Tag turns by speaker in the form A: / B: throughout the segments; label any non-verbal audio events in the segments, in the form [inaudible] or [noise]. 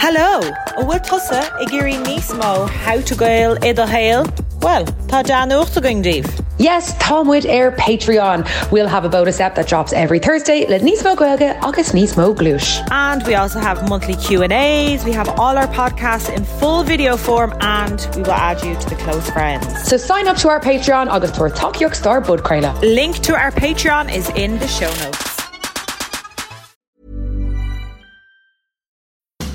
A: Hello, a bhfuil tusa i ggéirí níos mó hátagail iad a héal? Well, tá dean uachta going díobh.
B: Yes, Tomwood Air Patreon. We'll have a bonus app that drops every Thursday. Let Nismo Gwelga, August Nismo Glush.
A: And we also have monthly Q&As. We have all our podcasts in full video form and we will add you to the close friends.
B: So sign up to our Patreon, August Tor Talk York Star Bud Crayla.
A: Link to our Patreon is in the show notes.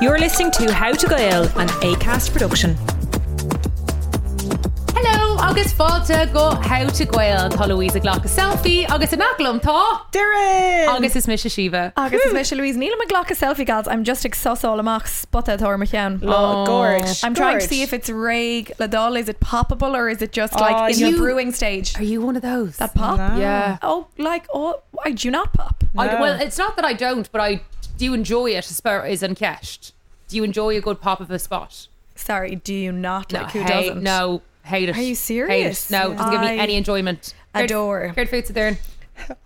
A: You're listening to How to Gael, an ACAST production.
C: Hello, agus fáilte go háte gil tá Louise gglach a selfie agus an nachlumm tá
A: Darren!
C: agus is mis sibh.
D: Agus is mis Louise Neil McGlock a selfie gods. I'm just exhausted amach spotted or McCown.
A: Oh, gorge.
D: I'm trying to
A: gorge.
D: see if it's rag ladol. Is it poppable or is it just like
A: Oh,
D: in
A: you-
D: the brewing stage?
C: Are you one of those?
D: That pop?
C: yeah.
D: Oh, like oh, I do not pop.
C: I, well, it's not that I don't, but I do enjoy it. As far as uncashed, do you enjoy a good pop of a spot?
D: Sorry, do you not? Like who
C: hate,
D: doesn't?
C: No, hate it.
D: Are you
C: Hate it.
D: serious?
C: No, it doesn't give me
D: I
C: any enjoyment.
D: adore.
C: Heard food there.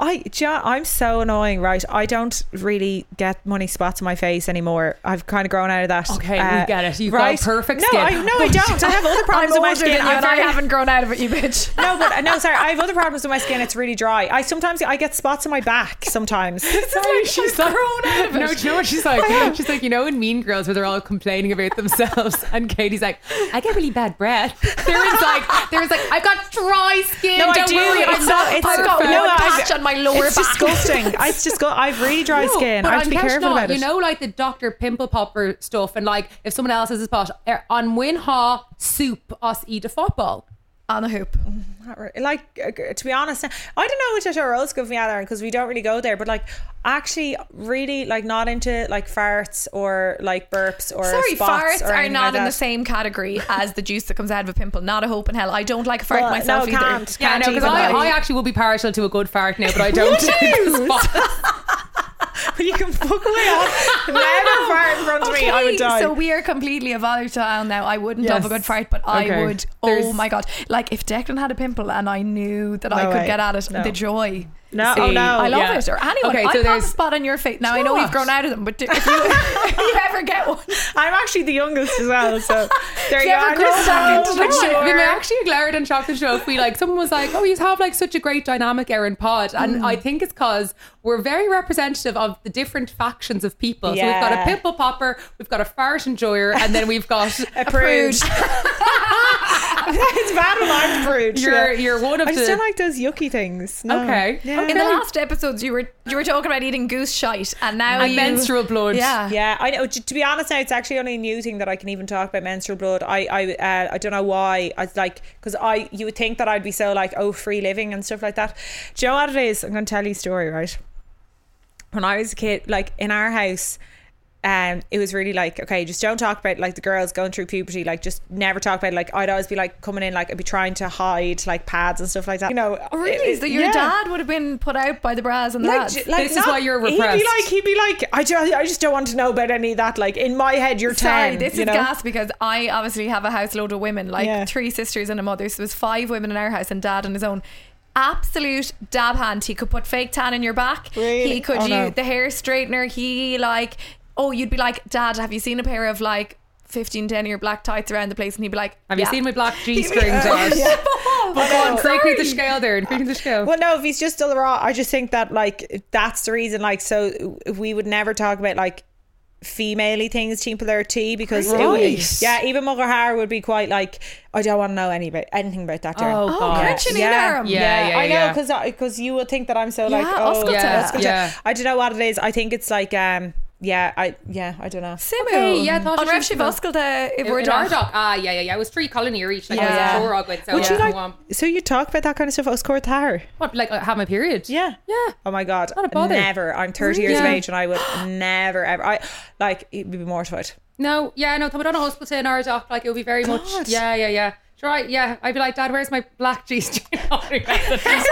A: I, do you know, I'm so annoying, right? I don't really get money spots on my face anymore. I've kind of grown out of that. Uh,
C: Okay, we get it. You've got perfect
A: no,
C: skin.
A: I, no, I don't. I have
C: [laughs]
A: other
D: I'm
A: problems with my
D: older than
A: skin.
D: you, and I
A: very-
D: [laughs] haven't grown out of it, you bitch. [laughs]
A: No, but uh, no, sorry. I have other problems with my skin. It's really dry. I sometimes I get spots on my back. Sometimes.
C: Sorry, she's like,
D: out of
C: no, do you know what she's like? She's like, you know, in Mean Girls where they're all complaining about themselves, [laughs] and Katie's like, I get really bad breath. There is like, there is like, I've got dry skin.
A: No, I
C: don't
A: do.
C: Worry,
A: It's
C: I'm
A: not- it's-
C: perfect.
A: got no,
D: one
A: I've-
D: patch on my lower
A: it's
D: back.
A: disgusting. It's just got. I've really dry
C: No,
A: skin. I have to be
C: cash
A: careful
C: not,
A: about it.
C: You know, like the Dr. Pimple Popper stuff, and like if someone else has a spot, er, on win ha soup, us eat a football.
D: on a hoop.
A: Not re- like uh, to be honest, I don't know which of our old school from other because we don't really go there. But like, actually, really like not into like farts or like burps or
D: Sorry, farts
A: spots or
D: are
A: anything
D: not
A: like
D: in the
A: that.
D: same category as the juice that comes out of a pimple. Not a hope in hell. I don't like a fart
A: Well,
D: myself
A: Uh, no,
D: either.
A: can't,
D: Yeah,
A: can't
D: no,
A: even
C: Because I,
A: lie.
C: I actually will be partial to a good fart now, but
B: [laughs]
C: I don't. do spots.
A: [laughs] you can fuck away.
D: [laughs]
A: On. Never fart in front of me. I would die.
D: So we are completely a volatile now. I wouldn't
C: Yes.
D: have a good fart, but
C: Okay.
D: I would.
C: There's-
D: oh my god! Like if Declan had a pimple and I knew that I
A: No
D: could
A: way.
D: get at it,
A: No.
D: the joy.
A: no,
C: See,
A: oh no,
D: I love
C: yeah.
D: it. Or anyone.
C: Okay,
D: I
C: so
D: so
C: there's-
D: a spot on your face. Now I
C: you
D: know
C: know
D: we've
C: what?
D: grown out of them, but if
A: [laughs]
D: you, if you ever get one,
A: I'm actually the youngest as well.
D: [laughs]
A: So there you go.
D: Never
A: I'm
D: grow
A: just
D: back
A: so
D: into it.
A: mature.
D: Sure.
C: We were actually glared and shocked at the show if we like someone was like, Oh, you have like such a great dynamic Erin pod. And
A: Mm.
C: I think it's cause we're very representative of the different factions of people. So we've got
A: Yeah.
C: a pimple popper, we've got a fart enjoyer, and then we've got
A: [laughs] A prude.
D: [laughs]
A: [laughs] it's bad alarm prude.
C: You're-
A: yeah.
C: you're one of
A: I just
C: the-
A: don't like those yucky things. No.
C: Okay. Oh,
A: Yeah.
D: in the last episodes you were you were talking about eating goose shite, and now
C: And
D: you,
C: menstrual blood.
D: Yeah.
A: Yeah, I know. To be honest, now it's actually only a new thing that I can even talk about menstrual blood. I, I, uh, I don't know why. I was like because I, you would think that I'd be so like oh free living and stuff like that. Do you know what it is? I'm going to tell you a story. Right, when I was a kid, like in our house. Um, it was really like okay, just don't talk about like the girls going through puberty. Like, just never talk about it. like I'd always be like coming in like I'd be trying to hide like pads and stuff like that. You know,
D: Oh, Really?
A: it-
D: so your
A: yeah
D: dad would have been put out by the bras and lads.
A: j-
C: This is why you're repressed.
A: He'd be like, he'd be like, I just, I just don't want to know about any of that. Like in my head, you're
D: Sorry,
A: ten.
D: this
A: you
D: is
A: know?
D: gas because I obviously have a house load of women, like
A: Yeah.
D: three sisters and a mother. So there was five women in our house and dad on his own. Absolute dab hand. He could put fake tan in your back.
A: Really?
D: He could
A: Oh,
D: use
A: no.
D: the hair straightener. He like, oh, you'd be like, Dad, have you seen a pair of like 15, 10 year black tights around the place? And he'd be like,
C: Have you
D: "Yeah."
C: seen
A: [laughs]
C: my black G strings on? But go
D: I'm
C: on, creeping the
D: sorry.
C: scale there and creeping the scale.
A: Well, no, if he's just still raw, I just think that like that's the reason. Like, so we would never talk about like femaly things, people or tea, because it would-
C: Right.
A: yeah, even Mugger Har would be quite like, I don't want to know any about anything about that. Darren.
C: Oh, Oh, God.
D: can't you neither?
A: yeah,
C: Yeah, yeah,
A: I know
C: yeah.
A: because because you would think that I'm so like,
D: Yeah,
A: oh,
D: Oscar
A: yeah,
C: test.
A: Oscar
C: Yeah.
A: test. I don't know what it is. I think it's like um. yeah, I yeah, I don't know.
D: Simu.
C: Okay, yeah, I thought
D: On
C: it
D: Rev
C: was Simu.
D: Shivoskalda, if
C: In
D: we're dark.
C: Ardagh. Ah, yeah, yeah, yeah. It was three colony each. Like,
D: Yeah.
C: I was sure of it. So,
A: Would
C: yeah,
A: you
C: go on.
A: like? So you talk about that kind of stuff? oh, I was scored her.
C: What, like, I have my period?
A: Yeah.
C: Yeah.
A: Oh my god.
C: Not a bother.
A: Never. I'm 30 years
C: Yeah.
A: of age and I would [gasps] never ever. I like you'd be mortified.
C: No, yeah, no, coming on a hospital in Ardagh, like, it would be very much.
A: God.
C: Yeah, yeah, yeah. Sure, I, yeah. I'd be like, Dad, where's my black cheese? Do you know what I mean?
A: my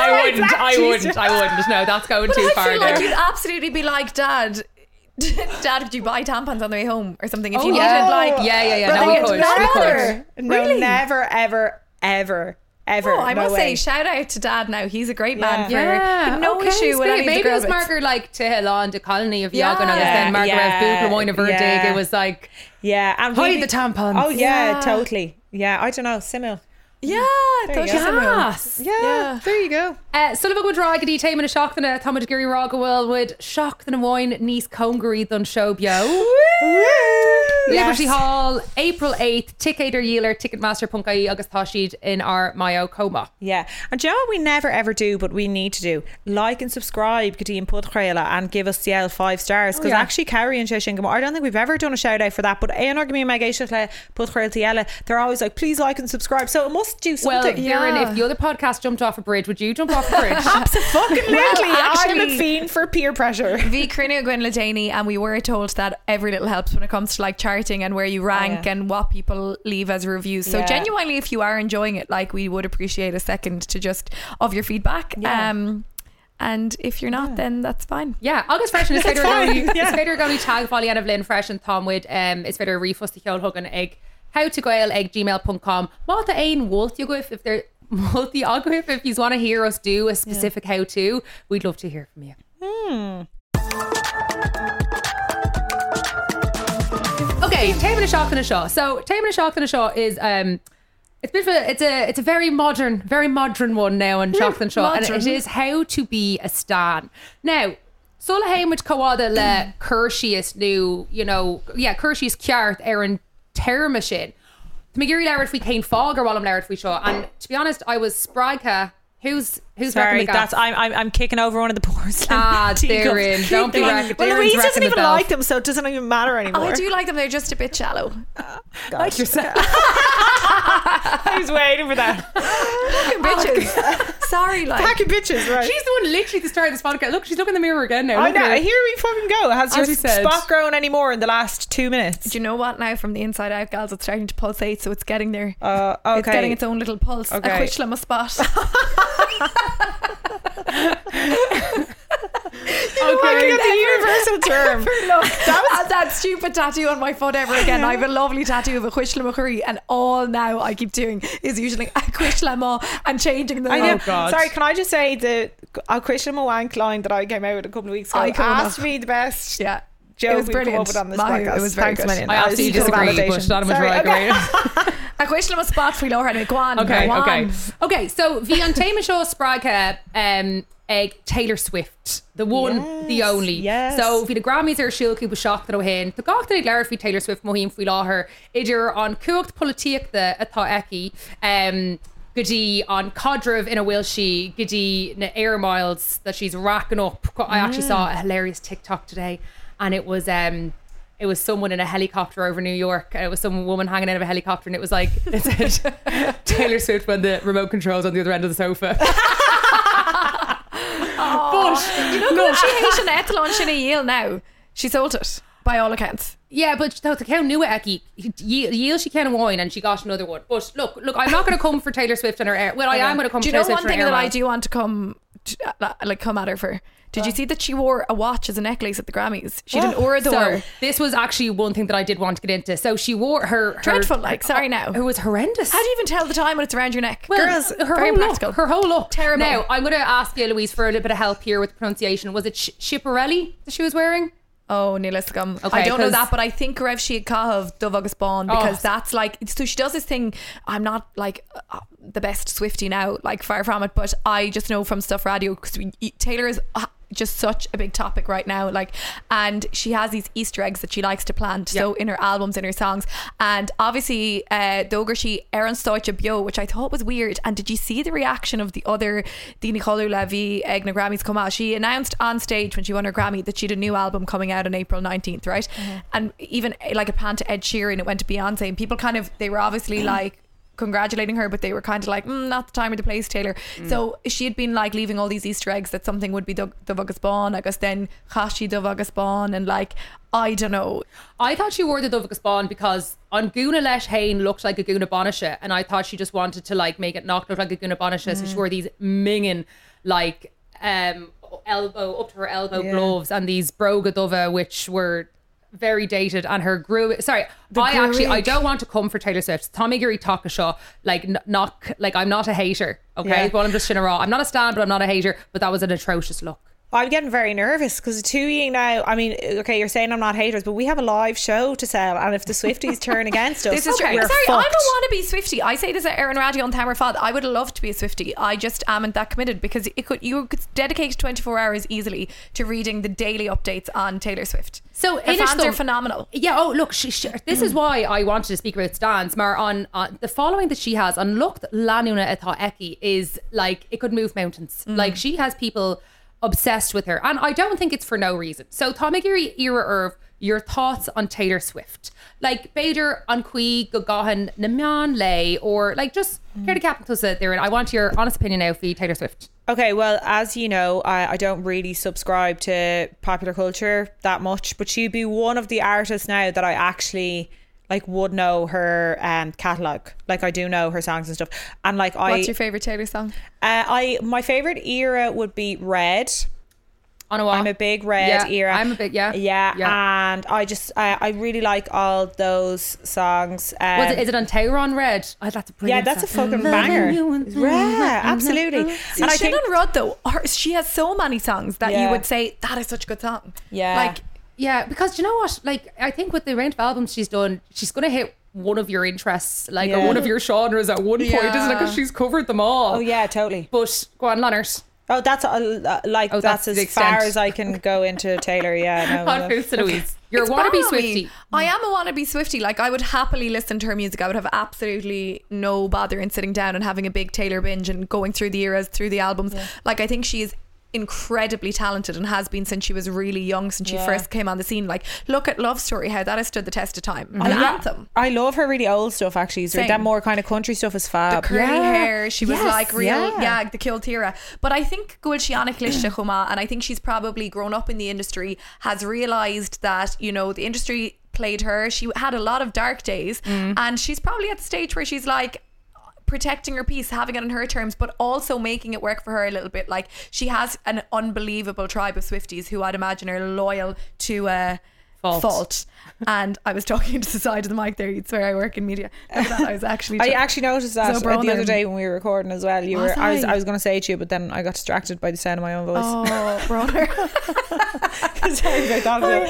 C: I wouldn't.
A: black
C: I
A: cheese?
C: wouldn't. I wouldn't. No, that's going too
D: I
C: far
D: feel
C: there.
D: like you'd absolutely be like, Dad, [laughs] Dad, did you buy tampons on the way home or something? If
C: Oh,
D: you
C: yeah.
D: needed, like,
C: Yeah, yeah, yeah.
D: But
C: No,
D: they
C: we
D: would
C: could.
D: not
C: We could.
D: bother.
A: No,
D: Really?
A: never, ever, ever, ever.
D: Oh, I
A: no
D: must say,
A: way.
D: shout out to Dad now. He's a great
A: Yeah.
D: man for no
C: okay,
D: issue with
C: sweet.
D: any of the
C: Maybe it
D: girl
C: was
D: bits.
C: marker like to hell on the colony of
D: Yeah.
C: Yagan on the
D: Yeah,
C: then marker
A: yeah,
C: of Bucla Verdig.
A: yeah.
C: It was like
A: yeah, and
C: Hide
A: really-
C: the tampons.
A: Oh yeah,
D: Yeah.
A: totally. Yeah, I don't know. Simil.
D: Yeah,
A: There you go.
C: Yes.
A: Yeah,
D: Yeah.
A: there you go.
C: Uh, Sullivan go Ragadi Tame and a shock than a Thomas Giri Rogawell would shock than a wine niece Congery than Showbio. Liberty Hall, April 8th, Ticketer Yeeler, Ticketmaster.ie, August Tashid in our Mayo Coma.
A: Yeah. And do you know what we never ever do, but we need to do? Like and subscribe, Kadeem Pudchrela, and give us the L five stars. Because
C: yeah.
A: actually, Carrie and Shishingamore, I don't think we've ever done a shout out for that, but Aonar Gami Magisha Pudchrela Tiela, they're always like, please like and subscribe. So it must do
C: Well,
A: something.
C: Kieran,
D: Yeah.
C: if the other podcast jumped off a bridge, would you jump off a bridge?
A: [laughs] Absolutely. I'm a
D: actually-
A: fiend for peer pressure.
D: V. Crinio Gwen Lataney, and we were told that every little helps when it comes to like charting and where you rank
A: Oh, yeah.
D: and what people leave as reviews. So
A: Yeah.
D: genuinely, if you are enjoying it, like we would appreciate a second to just of your feedback.
A: Yeah.
D: Um, and if you're not, then that's fine.
C: Yeah, August
A: [laughs]
C: Fresh and Isfader
A: fine,
C: Gowdy.
A: yeah.
C: Isfader Gowdy Tag Folly and Evelyn Fresh and Tom Wood. Um, Isfader Refus the Kjol Hug and Egg. How to Gael Egg gmail.com. Martha Ain Wolthugif if they're [laughs] Multi Ogwif, if you want to hear us do a specific how to, we'd love to hear from you.
A: Hmm.
C: Okay, Tame and a Shock and a Shaw. So Tame and a Shock and a Shaw is um it's a bit of a it's a it's a very modern, very modern one now on Shock and Shaw. And it
D: modern.
C: is how to be a stan. Now, Solheim with Kawada le Curtius new, you know, yeah, Curtius Kiarth Aaron Termashin. McGeary Larrett we Kane Fog or Wallum Larrett we Shaw. And to be honest, I was Spraga. Who's who's
A: Sorry,
C: repping the
A: that's
C: gaff?
A: I'm, I'm I'm kicking over one of the [laughs] porcelain.
C: Ah,
A: teacups.
C: Darren, don't be
A: Well,
C: rack-
A: Well,
C: Darren's
A: Louise
C: racking
A: doesn't
C: the Oh,
A: even
C: bell.
A: like them, so it doesn't even matter anymore.
D: Oh, I do like them. They're just a bit
A: [laughs]
D: shallow.
A: like yourself. [laughs] I was waiting for that.
D: Fucking bitches. [laughs] Sorry, like
A: [laughs] Oh, Pack of bitches, right?
C: She's the one literally at the start of this podcast. Look, she's looking in the mirror again now.
A: I
C: Look at
A: know.
C: her.
A: Here we fucking go. Has
C: As we
A: your
C: said.
A: spot grown anymore in the last two minutes?
D: Do you know what now? From the inside out, gals, it's starting to pulsate, so it's getting there.
A: Uh,
D: It's
A: okay.
D: getting
A: [laughs]
D: its own little pulse. A
A: Okay.
D: quichla must spot.
A: Okay.
C: Okay.
A: Get the universal
C: [laughs]
A: term.
D: that was that stupid tattoo on my foot ever again. I have a lovely tattoo of a Quishla McCurry, and all now I keep doing is usually a Quishla Ma and changing them.
A: I know.
D: all.
C: Oh, God.
A: Sorry, can I just say the a Christian Moank line that I came out with a couple of
C: Oh,
A: weeks ago
D: Iconic.
A: has to be the best
D: Yeah.
A: joke
D: it was
A: we've
D: brilliant.
A: come up with on this
D: Mahu,
A: podcast.
D: It was very
A: Thanks a
D: good.
A: million.
C: I
A: That was
C: absolutely
A: equal
C: disagree, but
A: validation.
C: not much
A: Sorry,
C: I
A: [laughs] okay.
C: agree.
D: A Quishla must spot for Laura and go on.
C: Okay,
D: go on.
C: okay. Okay, so Viantema Shaw Spraga um egg Taylor Swift. The one, the only.
A: yes.
C: So vi the Grammys are Shield Cuba Shock that O'Hain. The Gach that Lara fi Taylor Swift Mohim fi Laher. Idir on Kucht Politik the Atha Eki. Um Gadi on Codriv in a will she Gadi na air miles that she's racking up. I actually saw a
A: Mm.
C: hilarious TikTok today and it was um it was someone in a helicopter over New York, and it was some woman hanging out of a helicopter, and it was like [laughs] it said Taylor Swift when the remote controls on the other end of the sofa. but
D: You know, no. she hates an ethel in a Yale now. She sold it, by all accounts.
C: [laughs] yeah, but the the cow knew it. Eki Ye- yield she can of wine, and she got another one. But look, look, I'm not going to come for Taylor Swift and her air. Well, I am going to come.
D: Do you
C: for
D: know
C: Taylor
D: one
C: Swift
D: thing
C: and her
D: that
C: air
D: I
C: miles.
D: do want to come, to, uh, like, come at her for? Did you see that she wore a watch as a necklace at the Grammys? She did an Orador.
C: So this was actually one thing that I did want to get into. So she wore her, her
D: Dreadful, like, sorry now.
C: It was horrendous.
D: How do you even tell the time when it's around your neck?
C: Well,
D: Girls,
C: her
D: very
C: whole
D: practical.
C: look, her whole look.
D: Terrible.
C: Now, I'm going to ask you, Louise, for a little bit of help here with pronunciation. Was it Sh- Schiparelli that she was wearing?
D: Oh, Neil Escom.
C: Okay,
D: I don't know
C: 'cause-
D: that, but I think Rev Shiakahov Dov Agus Bond because
C: Oh.
D: that's like so she does this thing. I'm not like uh, the best Swifty now, like far from it, but I just know from stuff radio because e, Taylor is. Uh, just such a big topic right now. Like, and she has these Easter eggs that she likes to plant. So in her albums, in her songs, and obviously, uh, Dogershi Aaron Stoicha Bio, which I thought was weird. And did you see the reaction of the other the Nicole Levy Egna Grammys come out? She announced on stage when she won her Grammy that she had a new album coming out on April nineteenth, right? And even eh, like it panned to Ed Sheeran, it went to Beyonce, and people kind of they were obviously like congratulating her, but they were kind of like, mm, not the time or the place, Taylor. So she had been like leaving all these Easter eggs that something would be the Vagasbon, I guess then Hashi the Vagasbon, and like, I don't know.
C: I thought she wore the Dovagus Bond because on Guna Lesh Hain looked like a Guna Bonisha, and I thought she just wanted to like make it not look like a Guna Bonisha, so she wore these minging like um elbow up to her elbow gloves and these Brogadova, which were very dated and her grew sorry I actually I
D: Gruig.
C: don't want to come for Taylor Swift Tommy Geary Takasha like n- not c- like I'm not a hater okay
A: Yeah.
C: well I'm just in a raw I'm not a stan but I'm not a hater but that was an atrocious look
A: I'm getting very nervous because two year now. I mean, okay, you're saying I'm not haters, but we have a live show to sell, and if [laughs] the Swifties turn against us,
D: This is true.
A: we're
D: Sorry, I don't
A: fucked.
D: want to be Swifty. I say this at Aaron Radio on Tamara Fad. I would love to be a Swifty. I just amn't that committed because it could you could dedicate 24 hours easily to reading the daily updates on Taylor Swift.
C: So
D: her
C: it is
D: fans
C: though-
D: are phenomenal.
C: Yeah. Oh, look. She, she, this is why I wanted to speak about Stans. Mar on, on the following that she has on Look Lanuna Atha Eki is like it could move mountains.
A: Mm.
C: Like she has people obsessed with her, and I don't think it's for no reason. So Tomagiri Ira Irv, your thoughts on Taylor Swift? Like Bader on Kui Gogahan Namyan Lay, or like just
A: Mm.
C: here the capitals that they're in. I want your honest opinion now for Taylor Swift.
A: Okay, well, as you know, I, I don't really subscribe to popular culture that much, but she'd be one of the artists now that I actually like would know her um catalog. Like I do know her songs and stuff, and like I,
D: What's your favorite Taylor song?
A: uh, I my favorite era would be Red.
C: On a
A: I'm a big red
C: Ah, yeah,
A: era.
C: I'm a big yeah.
A: yeah, um,
C: Yeah.
A: and I just I, I really like all those songs. Um,
C: Was it, is it on Tayron Red? Oh, that's a
A: yeah,
C: brilliant
A: that's a
C: song.
A: fucking
C: [laughs]
A: banger. Yeah, absolutely. And I
D: Shannon
A: think
D: Rudd though, her, she has so many songs that
A: Yeah.
D: you would say that is such a good song.
A: Yeah.
D: like
C: Yeah, because you know what? Like, I think with the range of albums she's done, she's gonna hit one of your interests, like
A: Yeah.
C: or one of your genres at one point, isn't it?
D: Yeah.
C: Because she's covered them all.
A: oh yeah, totally.
C: But go on, Lonners.
A: Oh, that's uh, like
C: Oh,
A: that's,
C: that's the
A: as far
C: extent.
A: as I can go into Taylor.
C: [laughs]
A: Yeah, no,
C: On
A: no.
C: Foods to Louise. You're a
D: It's
C: wannabe
D: bothering me.
C: Swifty.
D: I am a wannabe Swifty. Like I would happily listen to her music. I would have absolutely no bother in sitting down and having a big Taylor binge and going through the eras, through the albums. Like I think she is incredibly talented and has been since she was really young, since she first came on the scene. Like look at Love Story, how that has stood the test of time.
C: Mm-hmm.
D: An anthem.
A: I love her really old stuff. Actually, so
D: Same.
A: that more kind of country stuff is fab.
D: curly
A: Yeah.
D: hair. She was
A: Yes,
D: like real,
A: yeah.
D: yeah, the Kiltira. But I think Gulshiana Klishta Huma, and I think she's probably grown up in the industry, has realized that, you know, the industry played her. She had a lot of dark days,
A: Mm.
D: and she's probably at the stage where she's like, protecting her piece, having it on her terms, but also making it work for her a little bit. Like she has an unbelievable tribe of Swifties who I'd imagine are loyal to uh,
C: Fault.
D: fault. And I was talking to the side of the mic there. You'd swear I work in media. Look at that, I was actually.
A: [laughs] I actually noticed that
D: So
A: uh, the other
D: brother.
A: day when we were recording as well. You
D: Was
A: were I was,
D: I?
A: I was going to say to you, but then I got distracted by the sound of my own voice.
D: Oh, brother.
A: [laughs] Sorry about that.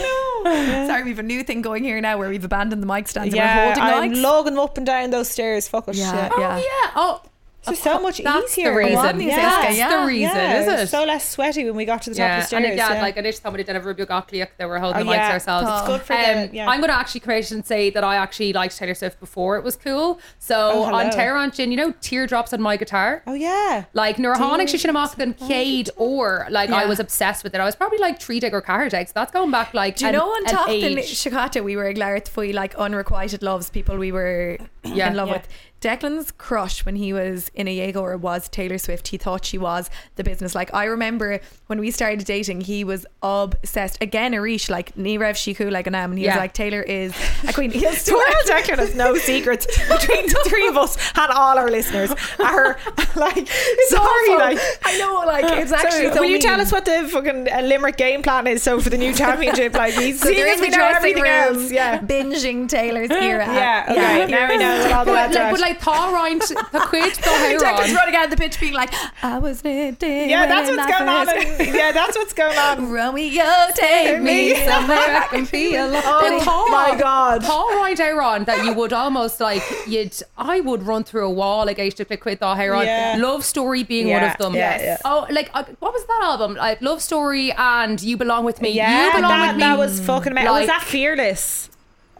D: [laughs] Sorry, we've a new thing going here now where we've abandoned the mic stands
A: Yeah,
D: and we're holding
A: I'm
D: mics.
A: lugging them up and down those stairs. Fuck us.
D: Yeah,
A: shit.
C: Oh
D: Yeah.
C: yeah. Oh,
A: It's so much
C: that's
A: easier.
C: the reason.
D: Yeah.
C: That's
D: Yeah.
C: the reason,
A: Yeah,
C: is it?
A: So less sweaty when we got to the top
C: yeah,
A: of the stairs.
C: and yeah, like initially somebody did a Rubio Gottlieb, they were holding
A: Oh,
C: the mics
A: yeah.
C: ourselves.
A: It's good for
C: Um,
A: the- yeah.
C: I'm going to actually create and say that I actually liked Taylor Swift before it was cool. So
A: Oh, hello.
C: on Terror on Gin, you know, teardrops on my guitar.
A: oh yeah.
C: Like Neurohonic Shishinamok than Cade or like I was obsessed with it. I was probably like three dig or carriage eggs. That's going back like
D: Do you
C: an,
D: know on
C: an
D: top in
C: age.
D: Chicago we were Glaritt Foy like unrequited loves, people we were
C: Yeah.
D: in love
A: [coughs] Yeah.
D: with. Declan's crush when he was in a Jaeger was Taylor Swift. He thought she was the business. Like I remember when we started dating, he was obsessed. Again, Arish, like Nirev Shiku like an am, and he
C: Yeah.
D: was like, Taylor is
A: [laughs]
D: a queen. He'll
A: Dora
D: swear
A: Declan has [laughs] no secrets between the three of us and all our listeners. Are [laughs] like sorry,
D: awful.
A: like
D: I know, like it's
A: [laughs] Sorry,
D: actually. so
A: will you tell
D: mean.
A: us what the fucking uh, Limerick game plan is? So for [laughs] the new championship, like we
D: So they're
A: see
D: in the
A: we know
D: dressing [laughs]
A: everything
D: room
A: else. [laughs] Yeah,
D: binging Taylor's era.
A: [laughs] yeah. Okay, now we know along with all the
C: But
A: lads
C: like,
A: right.
C: but like tá roiint tá cuid
A: [laughs]
D: Declan's
C: tá
D: running out of the pitch being like, [gasps] I was knitting.
A: yeah, that's
D: when
A: what's
D: I
A: going on.
D: first-
A: in- [laughs] yeah, that's what's going [laughs] on.
D: Romeo, take
A: [laughs]
D: me
C: me somewhere I can be alone. Oh
A: my God.
C: Paul right Aaron that you would almost like you'd I would run through a wall like I used to click with Thought Aaron.
A: Yeah.
C: Love Story being one
A: Yeah,
C: of them.
A: yeah, yeah.
C: Oh like uh, what was that album? Like Love Story and You Belong With Me.
A: Yeah,
C: you belong
A: that,
C: with me.
A: that was fucking amazing. was
C: Like-
A: that fearless? Or-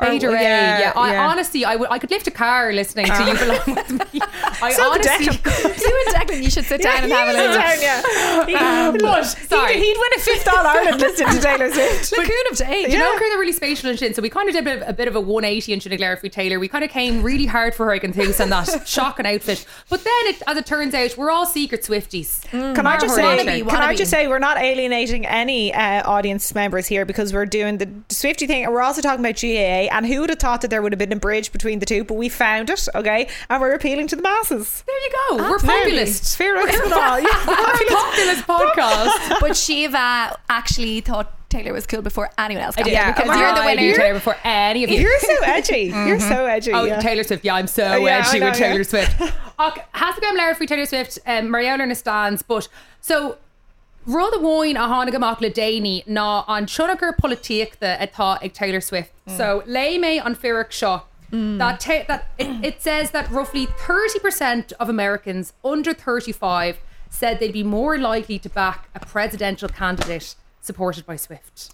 C: Fader Ray. Yeah, I,
A: yeah.
C: honestly, I would. I could lift a car listening to you belong
A: [laughs]
C: with me. I
A: So could
C: honestly.
D: [laughs]
A: Declan.
D: You and Declan, you should sit down and
A: Yeah,
D: have a
A: he was
D: little.
A: down, [laughs] yeah. He-
C: but,
A: he'd-
C: sorry.
A: He'd, win a fifth All Ireland listening to Taylor Swift.
D: The coon of day.
C: Do
D: You
C: you
D: know?
C: know, Karen, they're really spatial and shit. So we kind of did a bit of a, bit of a 180 in Sinead Fee Taylor. We kind of came really hard for her against Hoos
A: [laughs]
C: and that shocking outfit. But then, it, as it turns out, we're all secret Swifties.
A: Can I just say?
C: Wannabe,
A: Can I
D: wannabe.
A: just say we're not alienating any uh, audience members here because we're doing the Swifty thing, and we're also talking about GAA. And who would have thought that there would have been a bridge between the two? But we found it, okay, and we're appealing to the masses.
C: There you go. We're
A: Absolutely. [laughs]
C: populists.
A: Fair enough and all. Yeah, we're
C: We're a
A: populists.
C: populist podcast.
D: But Shiva actually thought Taylor was cool before anyone else. got
C: did,
D: it,
A: Yeah,
D: because
A: am I
D: you're the
A: right?
D: winner.
C: You, Taylor, before any of you.
A: You're so [laughs] edgy. You're so edgy.
C: Oh,
A: yeah.
C: Taylor Swift. Yeah, I'm so
A: yeah, I
C: edgy
A: know,
C: with Taylor
A: yeah. [laughs]
C: Swift. okay, has to go Lara free Taylor Swift, um, Marielle in a stands, but so Rá a bháin a tháinig amach le déine ná an sionagur polítíachta atá ag Taylor Swift.
A: Mm.
C: So lei mé an fearach seo. That, ta- that it, it says that roughly 30% of Americans under 35 said they'd be more likely to back a presidential candidate supported by Swift.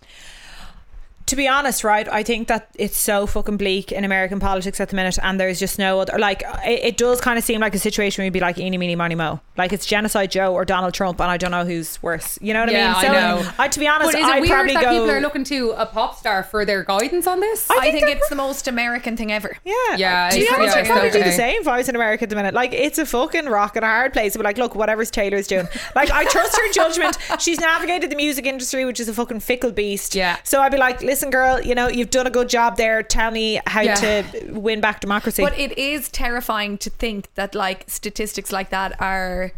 A: to be honest, right, I think that it's so fucking bleak in American politics at the minute, and there's just no other. Like, it, it does kind of seem like a situation where you'd be like, eeny, meeny, miny, mo. Like, it's Genocide Joe or Donald Trump, and I don't know who's worse. You know what
C: Yeah,
A: I
C: I
A: mean?
C: know.
A: to be honest,
C: But is it
A: I'd
C: weird
A: probably
C: that
A: go.
C: people are looking to a pop star for their guidance on this?
D: I think,
A: they're-
D: it's the most American thing ever.
A: yeah,
C: Yeah,
A: To be
C: it's-
A: honest,
C: yeah,
A: I'd probably
C: it's
A: do the
C: okay.
A: same if I was in America at the minute. Like, it's a fucking rock and a hard place. But like, look, whatever's Taylor's
C: [laughs]
A: doing, like, I trust her judgment. She's navigated the music industry, which is a fucking fickle beast.
C: Yeah.
A: So I'd be like, listen, girl, you know, you've done a good job there. Tell me how
C: Yeah.
A: to win back democracy.
D: But it is terrifying to think that like statistics like that are,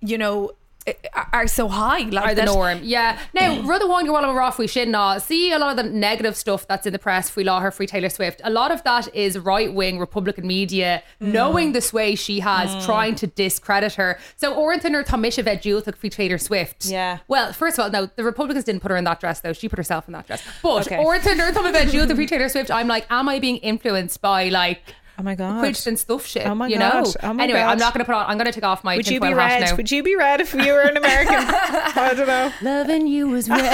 D: you know, are- are so high. Like
C: are the
D: that-
C: norm. Yeah.
A: Mm.
C: Now, rather one you while we're off, we should not see a lot of the negative stuff that's in the press. Free law her, free Taylor Swift. A lot of that is right wing Republican media
A: Mm.
C: knowing the sway she has, trying to discredit her. So Orinthin or Tomishev Jewel took free Taylor Swift.
A: Yeah.
C: Well, first of all, no, the Republicans didn't put her in that dress though. She put herself in that dress. But
A: Okay.
C: Orinthin or
A: [laughs]
C: Tomishev Jewel took free Taylor Swift. I'm like, am I being influenced by like?
A: Oh my God.
C: Quids and stuff shit.
A: Oh my
C: you
A: God.
C: know.
A: Oh my
C: anyway,
A: God.
C: I'm not gonna put on. I'm gonna take off my.
A: Would you be
C: tinfoil hat
A: red?
C: now.
A: Would you be red if you were an [laughs] American? I don't know.
C: Loving you
A: [laughs]
C: was red. no,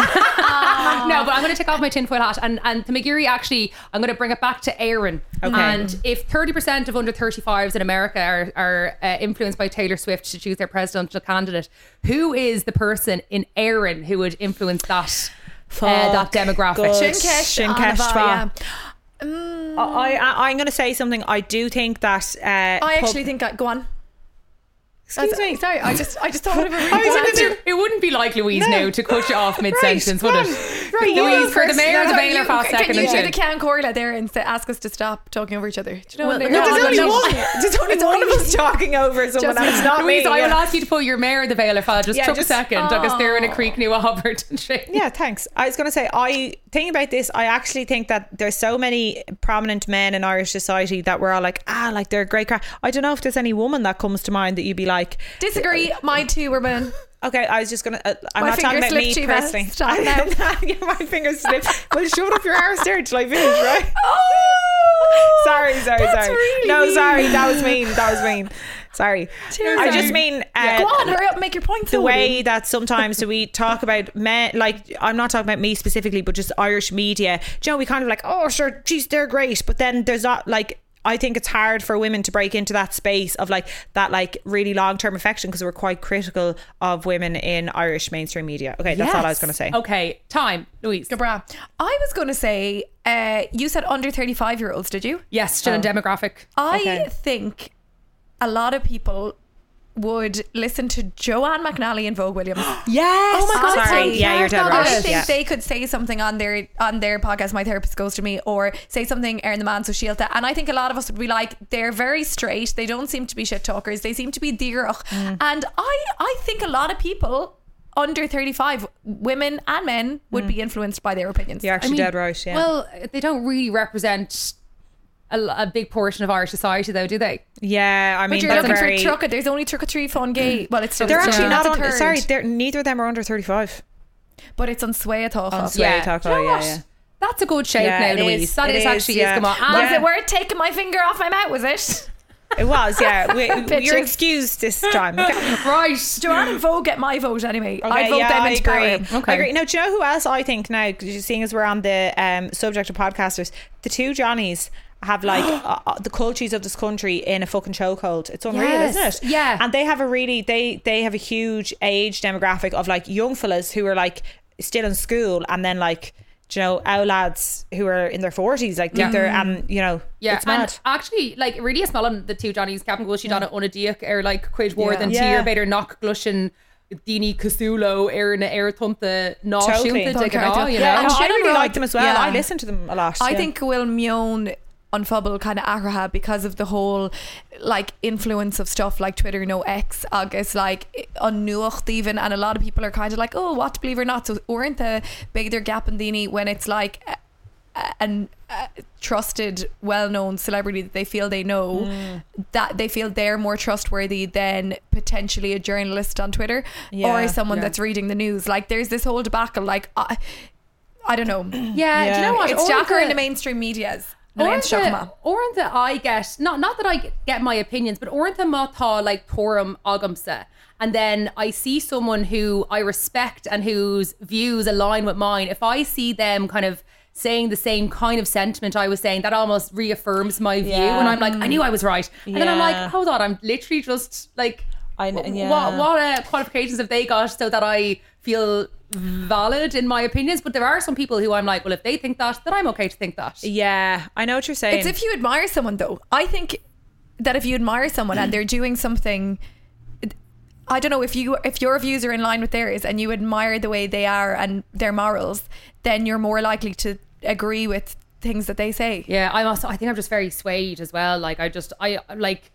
C: but I'm going to take off my tinfoil hat and and to McGeary actually, I'm going to bring it back to Aaron.
A: Okay.
C: And if 30% of under 35s in America are, are uh, influenced by Taylor Swift to choose their presidential candidate, who is the person in Aaron who would influence that uh, that demographic?
A: Good.
D: Shinkesh,
A: Shinkesh
D: Anava,
A: Spa.
D: yeah. Mm,
A: I, I, I'm going to say something. I do think that. Uh,
D: I
A: [laughs]
D: actually think I go on.
A: Excuse
D: That's-
A: me.
D: Sorry, I just I just thought of a really
A: [laughs] I was
D: good
A: gonna do-
D: answer.
C: It wouldn't be like Louise no. to cut you off mid sentence,
A: Right,
C: would
A: come
C: it?
A: on. Right, you go
C: Louise for the
A: first. No,
C: mayor, the
A: no,
C: bailiff, half
D: Can
C: second,
D: you
C: and
D: do the
C: shit.
D: can Corla there and say, ask us to stop talking over each other? Do you know
C: Well,
D: what I mean?
C: no,
A: There's
C: Oh,
A: only
C: no,
A: one. There's only one of us talking over someone else. Not
C: Louise,
A: me.
C: I
A: yeah.
C: will ask you to put your mayor in the bailiff. I just
A: Yeah,
C: took
A: just- Oh.
C: a second because they're in a creek new Albert and shit.
A: Yeah, thanks. I was going to say, I think about this. I actually think that there's so many prominent men in Irish society that we're all like, ah, like they're a great crack. I don't know if there's any woman that comes to mind that you'd be like,
D: Disagree. My two were men.
A: [laughs] Okay, I was just gonna. Uh, [laughs] I'm
D: My
A: not talking
D: finger
A: about me
D: slipped, Shiva.
C: [laughs]
A: personally.
D: Stop
A: [laughs]
D: now.
A: Yeah, my fingers slipped. Well, shove it up your arse there till I finish, right?
D: [laughs] Oh,
A: sorry, sorry,
D: that's
A: sorry.
D: really
A: no,
D: mean.
A: sorry, that
D: [laughs]
A: was mean. That was mean. Sorry.
D: Cheers,
A: I just
D: sorry.
A: mean uh,
D: Go on, hurry up, make your point.
A: the way that sometimes we talk about men, like I'm not talking about me specifically, but just Irish media. Do you know, we kind of like, oh, sure, geez, they're great, but then there's not like. I think it's hard for women to break into that space of like that like really long term affection because we're quite critical of women in Irish mainstream media. Okay, that's all I was going to say.
C: Okay, time, Louise.
D: Gabra. I was going to say, uh, you said under 35 year olds, did you?
C: Yes,
A: Oh.
C: still in demographic.
D: I
A: Okay.
D: think a lot of people would listen to Joanne McNally and Vogue Williams.
A: Yes.
D: [gasps] Oh my god!
A: Sorry.
D: sorry.
A: Yeah, you're dead right.
D: I think
A: Yeah.
D: they could say something on their on their podcast. My therapist goes to me, or say something Erin the man, so she'll. Ta- and I think a lot of us would be like, they're very straight. They don't seem to be shit talkers. They seem to be dirach. And I I think a lot of people under 35 women and Mm. men would be influenced by their opinions
A: You're actually dead right. Yeah.
C: Well, they don't really represent a, l- a big portion of Irish society, though, do they?
A: Yeah, I
D: But
A: mean,
D: you're
A: that's
D: looking
A: very,
D: for Truca. There's only Truca Tree Fun Gay. Well, it's still
A: They're
D: it's
A: actually
D: still-
A: not
D: that's a
A: on.
D: third.
A: Sorry, they're, neither of them are under thirty-five.
D: but it's on Sway, I thought.
A: On
D: Was
A: Sway. Oh, Yeah, talk
C: Do you know
A: about-
C: what?
A: yeah, yeah.
C: That's a good shape
A: Yeah,
C: now,
A: it is,
C: Louise. That
A: it
C: is,
A: is,
C: actually
A: yeah.
C: is. Come on.
A: Well,
C: And-
A: Yeah.
D: it worth taking my finger off my mouth? Was it? [laughs]
A: It was, yeah. We,
D: Bitches.
A: you're excused this
D: [laughs]
A: time. Okay.
C: Right.
D: Joanne and Vogue get my vote anyway.
A: Okay,
D: I vote
A: yeah,
D: them
A: I
D: into
A: agree.
D: power.
C: Okay.
A: I agree. Now, do you know who else I think now? 'cause you- Seeing as we're on the um, subject of podcasters, the two Johnnies have
C: [gasps]
A: like uh, uh, the cultures of this country in a fucking chokehold. It's unreal,
C: Yes,
A: isn't it?
C: yeah.
A: And they have a really they they have a huge age demographic of like young fellas who are like still in school and then like. do You know, our lads who are in their forties, like
C: Yeah.
A: they're um, you know,
C: Yeah,
A: it's mad.
C: and actually, like, really a smell on the two Johnnies, Captain Gushy, Donna Unadiak, er, like, Quid War,
D: Yeah.
C: then
A: Yeah.
C: Tier Bader, Knock Glushin, Dini Casulo, Erina Eratunta, Naw
A: Totally.
C: Shunta,
A: Don't
C: Dick and
D: care
C: all,
D: at
C: you
D: all. Yeah,
C: know?
A: and
D: no,
A: I
D: I don't
A: really
D: know.
A: like them as well.
D: Yeah.
A: I listen to them a lot.
D: I
A: yeah.
D: think Will Mione unfubble kind of araha because of the whole like influence of stuff like Twitter no X agus like unnuacht even and a lot of people are kind of like oh what believe it or not so weren't the big their gap and dini when it's like a- a- an a trusted well-known celebrity that they feel they know that they feel they're more trustworthy than potentially a journalist on Twitter
A: Yeah,
D: or someone
C: yeah.
D: that's reading the news like there's this whole debacle like I, I don't know
C: Yeah, do you
A: Yeah.
C: know what?
D: it's
C: Or
D: Jacker
C: the-
D: in the mainstream medias.
C: or
D: Name's
C: the-
D: Shakma.
C: or the I get not not that I get my opinions, but or the mata like Torum Agamsa. And then I see someone who I respect and whose views align with mine. If I see them kind of saying the same kind of sentiment I was saying, that almost reaffirms my view.
A: Yeah.
C: And I'm like, I knew I was right. And then I'm
A: Yeah.
C: like, hold on, I'm literally just like,
A: I kn-
C: w-
A: yeah.
C: what what uh, qualifications have they got so that I feel valid in my opinions? But there are some people who I'm like, well, if they think that, then I'm okay to think that.
A: yeah, I know what you're saying.
D: It's if you admire someone, though. I think that if you admire someone and they're doing something, I don't know if you if your views are in line with theirs and you admire the way they are and their morals, then you're more likely to agree with things that they say.
C: Yeah, I'm also. I think I'm just very swayed as well. Like I just, I I'm like,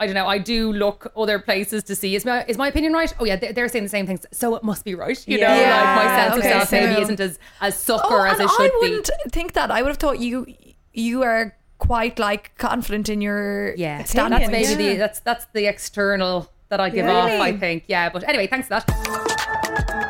C: I don't know. I do look other places to see. Is my is my opinion right? Oh yeah, they're, they're saying the same things, so it must be right. You know,
A: Yeah,
C: like my sense
A: okay,
C: of self maybe
D: so-
C: isn't as as
D: Oh,
C: sucker as
D: and
C: it
D: I
C: should be.
D: wouldn't think that. I would have thought you you are quite like confident in your
C: Yeah,
D: standpoint.
C: that's maybe the that's that's the external that I give off. I think. Yeah, but anyway, thanks for that.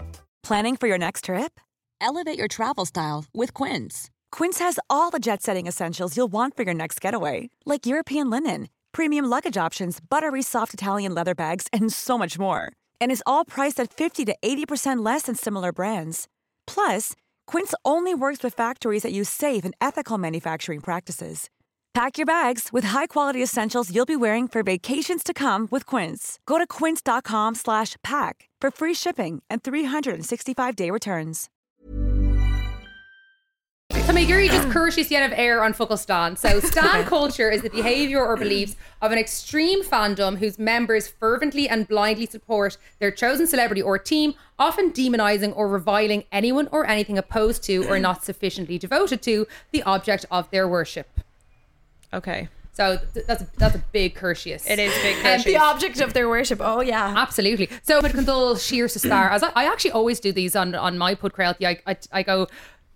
E: Planning for your next trip? Elevate your travel style with Quince. Quince has all the jet setting essentials you'll want for your next getaway, like European linen, premium luggage options, buttery soft Italian leather bags, and so much more. And is all priced at 50 to 80% less than similar brands. Plus, Quince only works with factories that use safe and ethical manufacturing practices. Pack your bags with high-quality essentials you'll be wearing for vacations to come with Quince. Go to quince.com slash pack for free shipping and 365-day returns.
C: Tamigiri just curses yet of air on Fuckle Stan. So Stan culture is the behaviour or beliefs of an extreme fandom whose members fervently and blindly support their chosen celebrity or team, often demonising or reviling anyone or anything opposed to or not sufficiently devoted to the object of their worship.
A: okay.
C: So th- that's a, that's a big cursius.
A: It is big
C: Um,
A: cursius.
D: the object of their worship. Oh yeah.
C: Absolutely. So but Condol Sheer to Star. As I, I actually always do these on on my podcrailty. I, I I go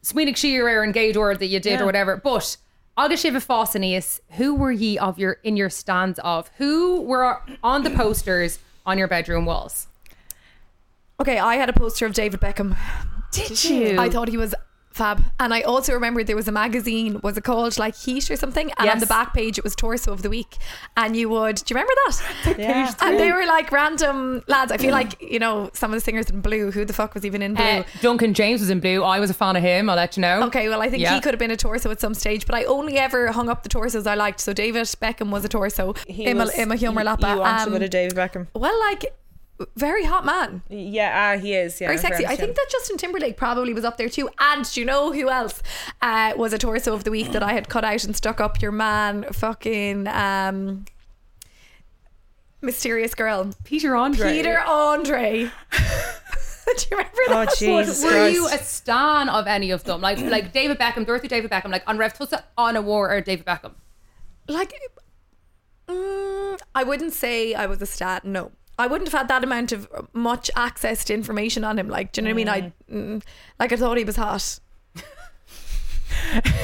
C: Sweeney Sheer Aaron Gaydor that you did or whatever. But Agus Shiva Fossinius, who were ye of your in your stands of? Who were on the posters on your bedroom walls?
D: Okay, I had a poster of David Beckham. Did you? I thought he was fab. And I also remember there was a magazine, was it called like Heat or something? And on
C: Yes.
D: the back page it was Torso of the Week. And you would, do you remember that?
A: Yeah.
D: And they were like random lads. I feel like, you know, some of the singers in blue, who the fuck was even in blue?
A: Eh.
C: Uh, Duncan James was in blue. I was a fan of him. I'll let you know.
D: Okay, well, I think he could have been a torso at some stage, but I only ever hung up the torsos I liked. So David Beckham was a torso.
A: He
D: Imma
A: was-
D: Imma Humor
A: you-
D: Lappa.
A: You wanted
D: Um,
A: a bit of David Beckham.
D: Well, like very hot man.
A: Yeah, ah, he is. Yeah,
D: Very sexy. I think that Justin Timberlake probably was up there too. And do you know who else uh, was a torso of the week that I had cut out and stuck up your man, fucking um, mysterious girl,
C: Peter Andre.
D: Peter Andre. [laughs] do you remember that?
A: Oh,
D: one?
A: Jesus
C: Were
A: Christ.
C: you a stan of any of them? Like like David Beckham, Dorothy David Beckham, like on Rev Tutsa, on a war or David Beckham?
D: Like, mm, I wouldn't say I was a stat. No. I wouldn't have had that amount of much access to information on him. Like, do you know what I mean? I mm, like, I thought he was hot.
C: [laughs]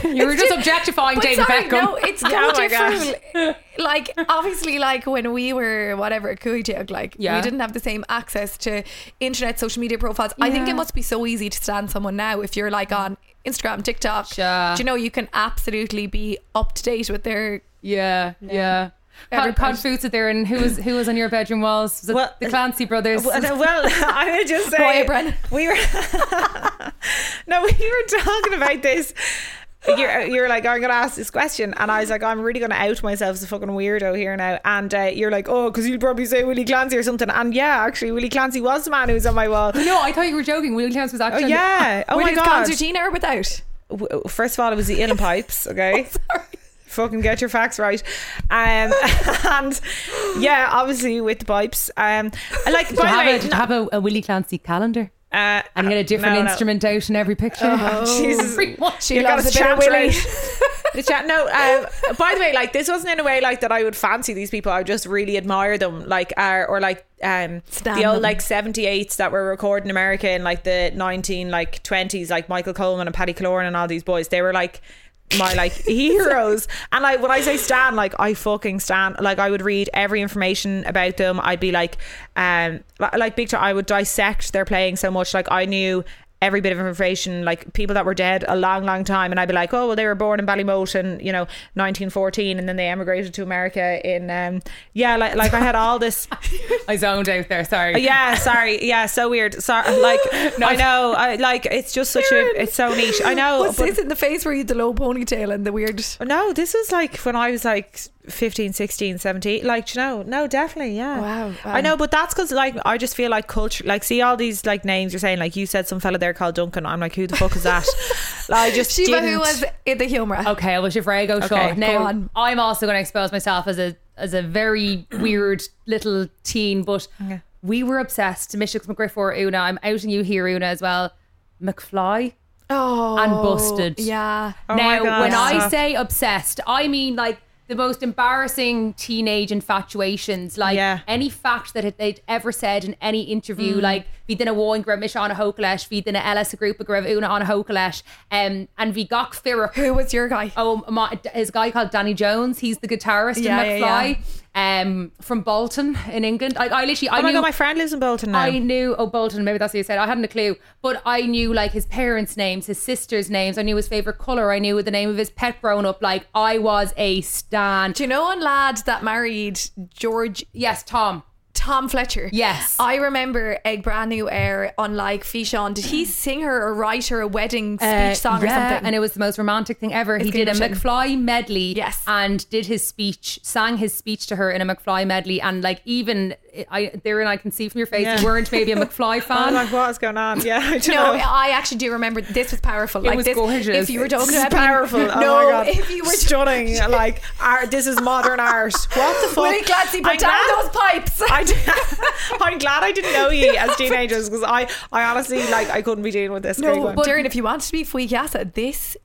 C: You were just objectifying
D: But
C: David
D: sorry,
C: Beckham.
D: No,
C: [laughs]
D: it's
A: Oh
D: no
A: my
D: different. like obviously, like when we were whatever at Kuitug, like
C: Yeah.
D: we didn't have the same access to internet, social media profiles. I think it
C: Yeah.
D: must be so easy to stand someone now if you're like on Instagram, TikTok.
C: Sure.
D: Do you know you can absolutely be up to date with their
C: Yeah, yeah. Con, con Foods are there, and who was who was on your bedroom walls? Was it
A: Well,
C: the Clancy brothers?
A: [laughs] Well, no, well, I would just say,
D: Boy, Brennan.
A: we were [laughs] no, we were talking about this. You're, you're like, I'm gonna ask this question, and I was like, I'm really gonna out myself as a fucking weirdo here now. And uh, you're like, oh, because you'd probably say Willie Clancy or something. And yeah, actually, Willie Clancy was the man who was on my wall.
C: [laughs] no, I thought you were joking. William Clance was actually.
A: Oh,
C: [laughs]
A: yeah. Oh,
D: with
A: my
D: his
A: God.
D: concertina or without.
A: W- First of all, it was the in pipes.
C: [laughs]
A: Okay.
D: [laughs] Sorry.
A: fucking get your facts right um [laughs] and yeah obviously with the pipes um I like
C: Did you
A: by the
C: have,
A: way
C: a, did you have a, a Willie Clancy calendar?
A: uh,
C: And get a different
A: no, Oh. no.
C: instrument out in every picture. [laughs]
A: Jesus.
C: Everyone.
D: She
A: You
D: loves
A: gotta
D: a bit of
A: saturate
D: Willie.
A: [laughs]
D: [laughs]
A: the chat. No, um, by the way, like this wasn't in a way like that. I would fancy these people. I just really admire them. Like, uh, or like um,
D: Stan
A: the old
D: them.
A: like seventy eights that were recording America in like the nineteen like twenties, like Michael Coleman and Paddy Cloran and all these boys. They were like my like heroes and like when I say Stan like I fucking Stan like I would read every information about them I'd be like um li- like big time I would dissect their playing so much like I knew every bit of information, like people that were dead a long, long time. And I'd be like, oh, well, they were born in Ballymote in, you know, 1914, and then they emigrated to America in, um, yeah, like, like I had all this.
C: I zoned out there. Sorry.
A: Yeah, sorry. Yeah, so weird. Sorry. Like,
D: [laughs]
A: I know. I like, it's just such a, it's so niche. I know.
D: What's
A: but-
D: this in the face where you had the low ponytail and the weird?
A: no, this was like when I was like 15, 16, 17. Like, do you know, no, definitely, yeah.
D: Wow, wow.
A: I know, but that's because, like, I just feel like culture, like, see all these, like, names you're saying, like, you said some fella there called Duncan. I'm like, who the fuck
D: [laughs]
A: is that? I just
D: Shiva,
A: didn't-
D: who was in the humor?
C: Okay, well, Shivrego okay,
A: Okay,
C: Shaw.
A: go
C: Now,
D: on.
C: I'm also going to expose myself as a as a very [clears throat] weird little teen, but we were obsessed. Mishix McGriff Una. I'm outing you here, Una, as well. McFly
D: Oh,
C: and Busted.
D: Yeah.
A: my
C: now,
A: God,
C: when I
A: stop.
C: say obsessed, I mean like the most embarrassing teenage infatuations, like
A: Yeah.
C: any fact that it- they'd ever said in any interview, like vi dina woin grab mish on a hokalesh, vi dina ellis a group of grab una on a hokalesh, um, and vi gach fira
D: Who was your guy?
C: Oh, my, his guy called Danny Jones. He's the guitarist
D: Yeah, yeah,
C: in McFly, um, from Bolton in England. I, I literally, I
A: Oh my
C: knew,
A: god, my friend lives in Bolton now.
C: I knew. Oh, Bolton. Maybe that's what you said. I hadn't a clue, but I knew like his parents' names, his sisters' names. I knew his favorite color. I knew the name of his pet grown up. Like I was a stan.
D: Do you know one lad that married George
C: Yes, Tom.
D: Tom Fletcher?
C: Yes.
D: I remember a brand new air on like Fichon. Did he sing her or write her a wedding speech
C: Uh,
D: song
C: yeah,
D: or something?
C: And it was the most romantic thing ever. he did a
D: Gingrich.
C: McFly medley.
D: Yes.
C: And did his speech, sang his speech to her in a McFly medley. And like even I there and I can see from your face
A: Yeah.
C: you weren't maybe a McFly
A: I'm
C: fan.
A: like, what is going on? Yeah, I don't
D: no,
C: [laughs]
A: know.
D: I actually do remember this was powerful. like
C: was
D: this,
C: gorgeous.
D: If you were talking
A: This is
D: about being-
A: powerful.
D: no,
A: oh my god,
D: if you were
C: [laughs]
D: [laughs]
A: stunning. like art, this is modern art. What the fuck?
D: Willie Clancy, put
A: I'm
D: down
A: glad-
D: those pipes.
A: [laughs] I d- [laughs] I'm glad I didn't
D: [laughs]
A: know you as teenagers because I, I honestly like I couldn't be dealing with this. Great
D: no,
A: one.
D: but Darren, if you wanted to be Fuig Acid, this.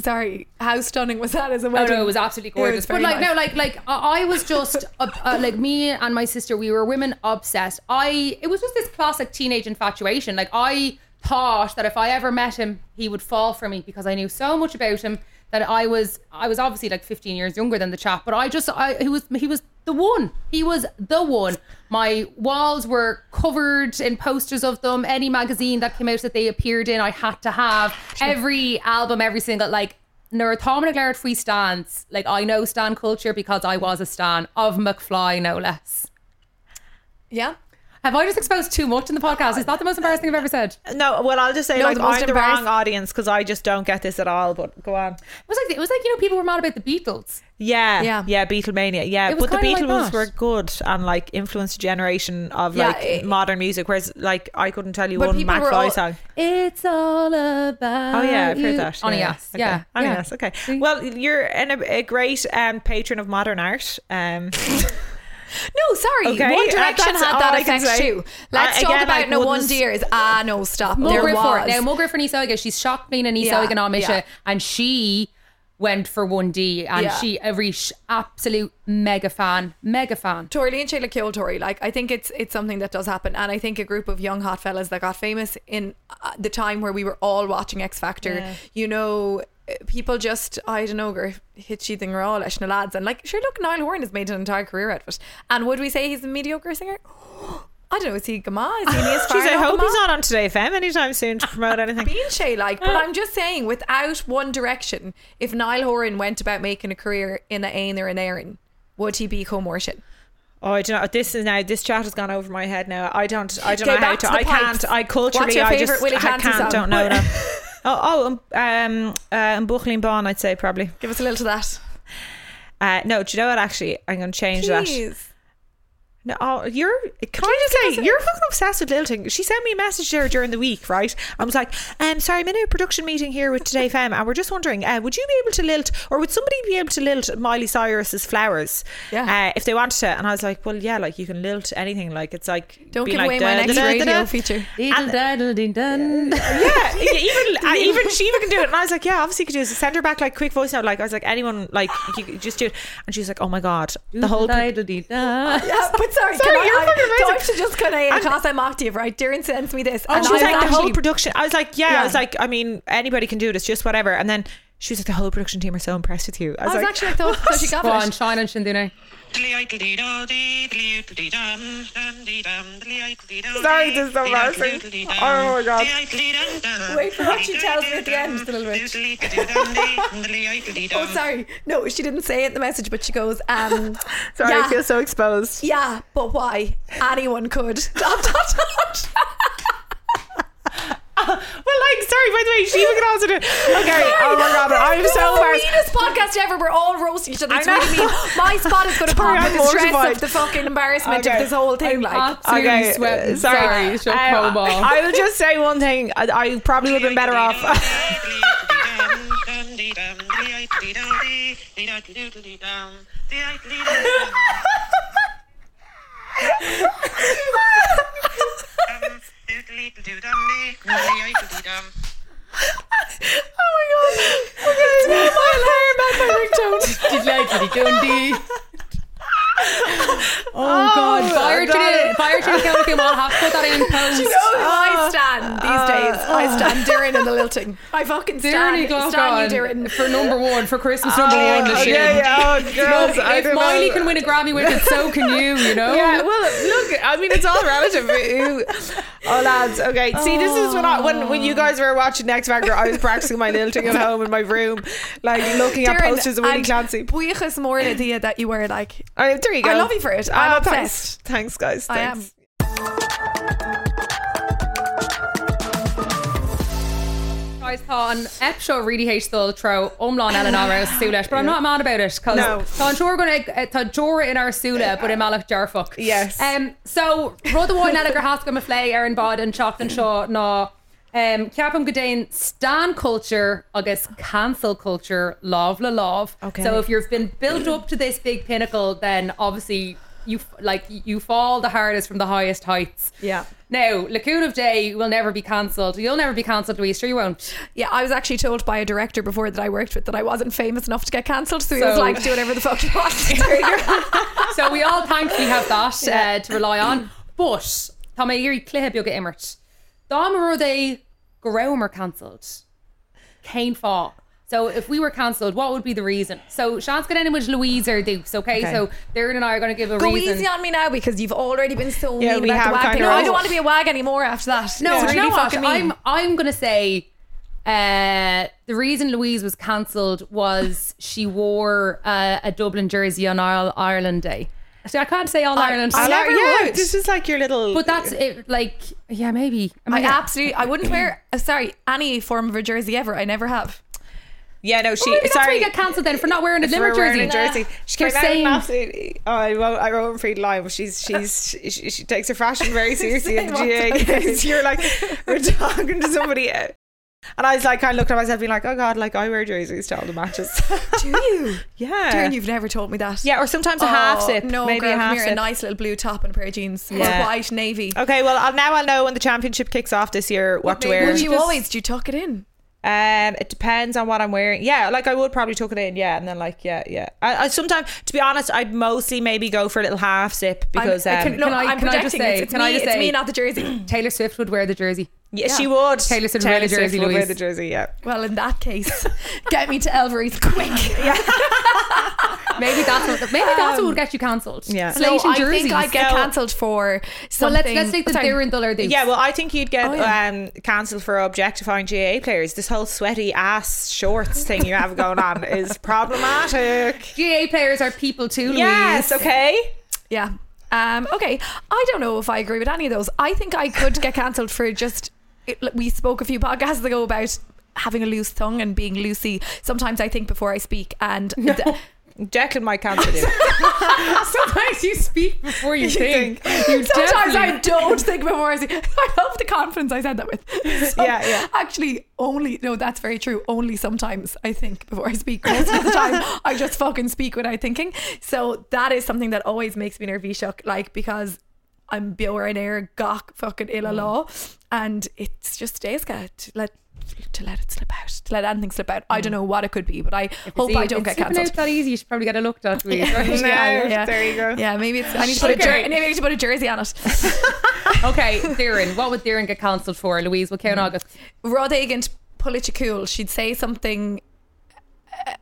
D: Sorry, how stunning was that as a
C: Oh
D: wedding?
C: no, it was absolutely
D: Yeah, it was
C: gorgeous. but
D: very
C: like
D: nice.
C: no, like like I I was just [laughs] uh, uh, like me and my sister, we were women obsessed. I it was just this classic teenage infatuation. Like I thought that if I ever met him, he would fall for me because I knew so much about him that I was I was obviously like 15 years younger than the chap, but I just I he was he was the one. He was the one. My walls were covered in posters of them. Any magazine that came out that they appeared in, I had to have. Every album, every single like Nuair Thomna Glaird Free Stans, like I know Stan culture because I was a Stan of McFly, no less.
D: Yeah.
C: Have I just exposed too much in the podcast? Is that the most embarrassing thing I've ever said?
A: No, well, I'll just say
D: No,
A: like
D: the most
A: I'm the
D: embarrass-
A: wrong audience because I just don't get this at all. But go on.
C: It was like it was like you know people were mad about the Beatles.
A: Yeah,
D: Yeah.
A: yeah, yeah Beatlemania. Yeah,
C: It was
A: but the
C: kinda like
A: Beatles
C: that.
A: were good and like influenced a generation of
D: Yeah,
A: like
D: it-
A: modern music. Whereas like I couldn't tell you
D: But
A: one
D: people
A: Mac
D: were
A: Fly
D: all-
A: song.
C: It's all about.
A: Oh yeah, I've
D: Mm,
A: heard that.
C: On
A: yeah,
C: a yes,
A: Okay.
C: yeah,
A: on a
C: yeah.
A: yes. Okay. Well, you're an, a, a great um, patron of modern art.
D: [laughs]
A: Um,
D: No, sorry.
A: Okay,
D: One
A: uh,
D: Direction
A: that's
D: had
A: all
D: that
A: I can
D: effect
A: say.
D: too. Let's
A: Uh,
D: talk
A: again,
D: about
A: like,
D: no
A: wouldn't-
D: one dears. Ah, no, stop.
C: Mo
D: there
C: Griffin.
D: was.
C: Now Mo Griffin Isoiga, she's shocked me in an
D: Yeah,
C: Isoiga nomination,
D: yeah.
C: and she went for one D, and
D: Yeah.
C: she every sh- absolute mega fan, mega fan.
D: Tori and Sheila killed Tori. Like I think it's it's something that does happen, and I think a group of young hot fellas that got famous in uh, the time where we were all watching X Factor. You know, uh, people just I don't know, girl, hit she thing all the lads, and like sure, look, Niall Horan has made an entire career out of it. And would we say he's a mediocre singer? [gasps] I don't know. Is he Gama? Is he
A: [laughs]
D: Neas
A: geez, I
D: Farrow
A: hope
D: Gama?
A: he's not on Today FM anytime soon
D: [laughs]
A: to promote anything.
D: being Shay like, but I'm just saying, without One Direction, if Niall Horan went about making a career in a Ain or an Aaron, would he be co-morton?
A: Oh, I do not. This is now. This chat has gone over my head now. I don't. I don't
D: Okay,
A: know how
D: back
A: to.
D: to the
A: I
D: pipes.
A: can't. I culturally.
D: What's your
A: I
D: favourite
A: just.
D: Willie
A: I
D: Clancy
A: can't.
D: song?
A: Don't know. no.
D: [laughs]
A: oh, oh, um, um, uh, um, Bon. I'd say probably.
D: Give us a little to that.
A: Uh, no, do you know what? Actually, I'm going to change that.
D: Please.
A: No, oh, you're. Can I just say you're fucking obsessed with Little Thing? She sent me a message there during the week, right? I was like, um, sorry, I'm in a production meeting here with Today Femme, and we're just wondering, uh, would you be able to lilt, or would somebody be able to lilt Miley Cyrus's flowers,
D: Yeah.
A: uh, if they wanted to? And I was like, well, yeah, like you can lilt anything, like it's like
D: Don't
A: be
D: give
A: like,
D: away
A: da,
D: my next
A: da, da, da,
D: radio
A: da.
D: feature.
C: Diddle daddle ding dun.
A: [laughs] Yeah, yeah,
D: [laughs]
A: even uh, even Shiva can do it. And I was like, yeah, obviously you can do this. Send her back like quick voice note. Like I was like, anyone, like you could just do it. And she was like, oh my god, the whole. pe-
C: Diddle dee da.
D: Yeah, but sorry,
A: Sorry,
D: can I,
A: you're
D: I,
A: fucking
D: do I
A: amazing.
D: have to just kind of
A: And-
D: because I mocked you, right? Darren sends me this,
A: And she was
D: I
A: like, the whole
D: actually-
A: production. I was like, yeah.
D: Yeah.
A: I was like, I mean, anybody can do it. It's just whatever. And then she was like, the whole production team are so impressed with you. I
D: I
A: was,
D: was
A: like,
D: actually I thought so she got
C: Go on,
D: it.
C: shine on Shindune.
A: Sorry, this is so embarrassing. Oh my God.
D: Wait for what she tells me at the end, little
F: bitch.
D: Oh, sorry. No, she didn't say it in the message, but she goes, um,
A: sorry,
D: yeah,
A: I feel so exposed.
D: yeah, but why? Anyone could. Dot, dot, dot.
A: Well, like, sorry, by the way, Shiva can also do
D: [laughs]
A: it. Okay, oh my God, I'm
D: This is
A: so
D: the
A: embarrassed.
D: meanest podcast ever. We're all roasting each other. It's
A: I know.
D: really mean. My spot is going to
A: [laughs] Sorry,
D: pop
A: I'm
D: with the stress
A: mortified.
D: of the fucking embarrassment of
A: Okay.
D: this whole thing. like,
C: Absolutely
A: okay,
C: sweating.
A: uh,
C: Sorry, it's your
A: I,
C: pro ball.
A: I will just say one thing. I, I probably would have been better
D: [laughs]
A: off. [laughs] [laughs]
C: Oh God! Fire to
A: God.
C: the fire to the counter came on. Have to put that
A: [laughs]
C: in post.
D: you know who
A: Ah.
D: I stand these days? I stand Darren and the Lilting. I fucking
C: Darren
D: stand,
C: Glock
D: stand you,
C: on
D: Darren.
C: for number one for Christmas number one this year.
A: yeah, yeah, oh,
C: [laughs] No,
A: girls, I
C: if
A: don't
C: Miley
A: know.
C: can win a Grammy with it, so can you.
A: [laughs]
C: You know.
A: Yeah, well, look, I mean, it's all relative. [laughs] Who- oh, lads, okay. See, this is when, I, when when you guys were watching Next Factor, I was practicing my little thing at home in my room, like looking at
D: Darren,
A: posters of Willie
D: and
A: Clancy.
D: Buíochas mór na dia that you were like,
A: All right, there you go.
D: I love you for it. I'm
A: Ah,
D: obsessed.
A: Thanks, thanks guys.
D: I am.
A: Thanks.
C: Guys, Con, Epshaw really hates the throw umlan Ellen Arrows Sulesh, but I'm not mad about it because
A: No.
C: Con sure we're going to uh, Jora in our Sula, but in Malach Jarfuck.
A: Yes.
C: Um, so, Rodawoy, Nanagar, Haskell, Maflay, Aaron Bod, and Shockton Shaw, na um, Ciapam Gadain, Stan culture, agus cancel culture, love la love.
A: Okay.
C: So, if you've been built up to this big pinnacle, then obviously you f- like you fall the hardest from the highest heights.
D: Yeah.
C: Now, Lacoon of Day will never be cancelled. You'll never be cancelled, Louise. Sure, you won't.
D: Yeah, I was actually told by a director before that I worked with that I wasn't famous enough to get cancelled, so, he was
C: So-
D: like, do whatever the fuck you
A: [laughs]
D: want. Darren.
C: so we all thankfully have that uh, to rely on. But Tá mé irí cluthe beag imirt. Dá mar é go raibh mar cancelled. Cain fá. So if we were cancelled, what would be the reason? So Sean's going to end with Louise or Dukes, okay?
A: Okay.
C: So Darren and I are going to give a
D: Go
C: reason.
D: easy on me now because you've already been so
A: Yeah,
D: mean
A: we
D: about the
A: have
D: wag.
A: kinda
D: thing. No, I
A: all-
D: don't want to be a wag anymore after that.
C: No,
D: It's
C: do you know what?
D: fucking mean.
C: I'm I'm gonna say uh, the reason Louise was cancelled was she wore uh, a Dublin jersey on Isle- Ireland Day. See, I can't say all
D: I-
C: Ireland.
D: I
A: I'll-
D: never
A: yeah,
D: would.
A: this is like your little.
C: but that's it. Like, yeah, maybe. I
D: I
C: mean,
D: absolutely, I wouldn't
C: [clears throat]
D: wear, uh, sorry, any form of a jersey ever. I never have.
A: yeah, no,
C: Oh,
A: she.
C: maybe that's why
A: sorry,
C: you get cancelled then for not wearing a
A: for
C: Limerick
A: wearing
C: jersey.
A: a jersey. She
C: They're
A: came out with an
C: saying-
A: absolutely. Oh, I won't. I won't read line, but she's [laughs] she's she, she takes her fashion [laughs] very seriously in the
D: Same
A: GA.
D: old time.
A: case You're like [laughs] we're talking to somebody. uh, And I was like, kind of looking at myself, being like, "Oh God, like I wear jerseys to all the [laughs] matches."
D: Do you?
A: [laughs] yeah,
D: [laughs] Darren, you've never told me that.
A: yeah, or sometimes a half
D: Oh,
A: sip,
D: No,
A: maybe
D: girl,
A: a half
D: come here,
A: sip.
D: a nice little blue top and a pair of jeans.
A: Yeah.
D: Or white, navy.
A: Okay, well, I'll, now I'll know when the championship kicks off this year what to wear.
D: Would you
C: Just-
D: always, do you tuck it in?
A: Um, it depends on what I'm wearing. Yeah, like I would probably tuck it in. Yeah, and then like yeah, yeah. I, I sometimes, to be honest, I'd mostly maybe go for a little half sip because
D: I'm,
A: um,
D: can, no,
C: Can I-
D: I'm
C: can I just
D: projecting.
C: say-
D: it's, it's
C: can
D: me,
C: I just
D: it's
C: say-
D: me, not the jersey.
C: [clears throat] Taylor Swift would wear the jersey.
A: yeah,
D: yeah.
A: she would.
C: Taylor Swift would wear the
A: Swift
C: jersey,
A: would wear
C: Louise.
A: the jersey. Yeah.
D: well, in that
C: [laughs]
D: case, get me to Elvery's quick. [laughs]
C: Maybe that's what. Maybe that's what would get you cancelled.
A: yeah.
C: Slate
D: no,
C: and
D: I
C: jerseys.
D: think I'd get
A: No.
D: cancelled for
C: well,
D: something.
C: let's let's take the
D: Sorry.
C: Darren Duller dude.
A: Yeah, well, I think you'd get
D: Oh, yeah.
A: um, cancelled for objectifying GAA players. This whole sweaty ass shorts thing you have going on [laughs] is problematic.
C: GA players are people too. Louise.
A: Yes, okay.
D: Yeah. Um, okay. I don't know if I agree with any of those. I think I could get cancelled for just. It, we spoke a few podcasts ago about having a loose tongue and being loosey. Sometimes I think before I speak,
C: [laughs]
D: and th-
A: Declan might cancel [laughs] you.
C: Sometimes you speak before you, think. You
D: sometimes I
C: definitely-
D: don't think before I speak. [laughs] I love the confidence I said that
A: [laughs]
D: with. So
A: Yeah, yeah.
D: Actually, only no, that's very true. Only sometimes I think before I speak. Most of the
A: [laughs]
D: time, I just fucking speak without thinking. So that is something that always makes me nervy shook, like because I'm bjór in air, gawk fucking
A: Mm.
D: ill law, and it's just days to let to let it slip out, to let anything slip out. I don't
A: Mm.
D: know what it could be, but I hope
C: See,
D: I don't
C: if
D: get
C: slipping
D: cancelled.
C: out that easy. You should probably get a look at. Louise,
D: [laughs]
C: right?
A: No, there you go.
D: Yeah, maybe it's. I need to put a
C: Okay.
D: jer- maybe I need to put a jersey on it.
C: Okay, Darren. What would Darren get cancelled for? Louise, we'll count August.
D: Rod Agant pull it your cool. She'd say something uh,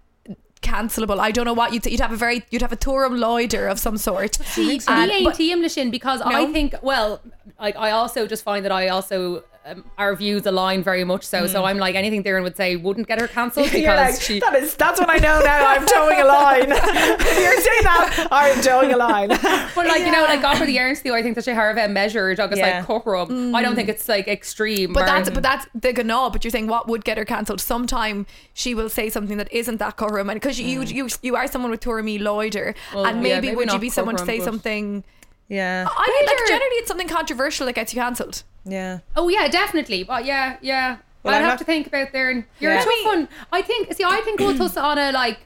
D: cancelable. I don't know what you'd you'd have a very you'd have a Thurum Loider of some sort.
C: See,
D: And-
C: me
D: but-
C: ATM Lishin because I
D: No.
C: think well, like I also just find that I also um, our views align very much so. So I'm like anything Darren would say wouldn't get her cancelled because
A: Mm. [laughs] You're like,
C: she.
A: that is, that's what I know now. I'm towing a [laughs] line. You're saying that I'm towing a line.
C: But like you know, like after the Ernst I think that she Harvey measured. I was
A: Yeah. Mm.
C: like cup rub. I don't think it's like extreme.
D: But that's
C: Baron.
D: but that's the gnaw. But you're saying what would get her cancelled? Sometime she will say something that isn't that Thurum, and because you, you you you are someone with Thurum Loider,
C: Mm. Well,
D: and
C: yeah,
D: maybe,
C: maybe
D: would you
C: not
D: be someone to
C: Coram,
D: say
C: but-
D: something?
A: [laughs] Yeah.
D: I mean, like
C: Loider.
D: generally it's something controversial that gets you cancelled.
A: Yeah.
C: Oh yeah, definitely. But yeah, yeah.
A: Well,
C: I'd
A: I'm
C: have
A: not-
C: to think about Darren. You're
A: Yeah.
C: a tough one. I think. See, I think we'll toss it on a like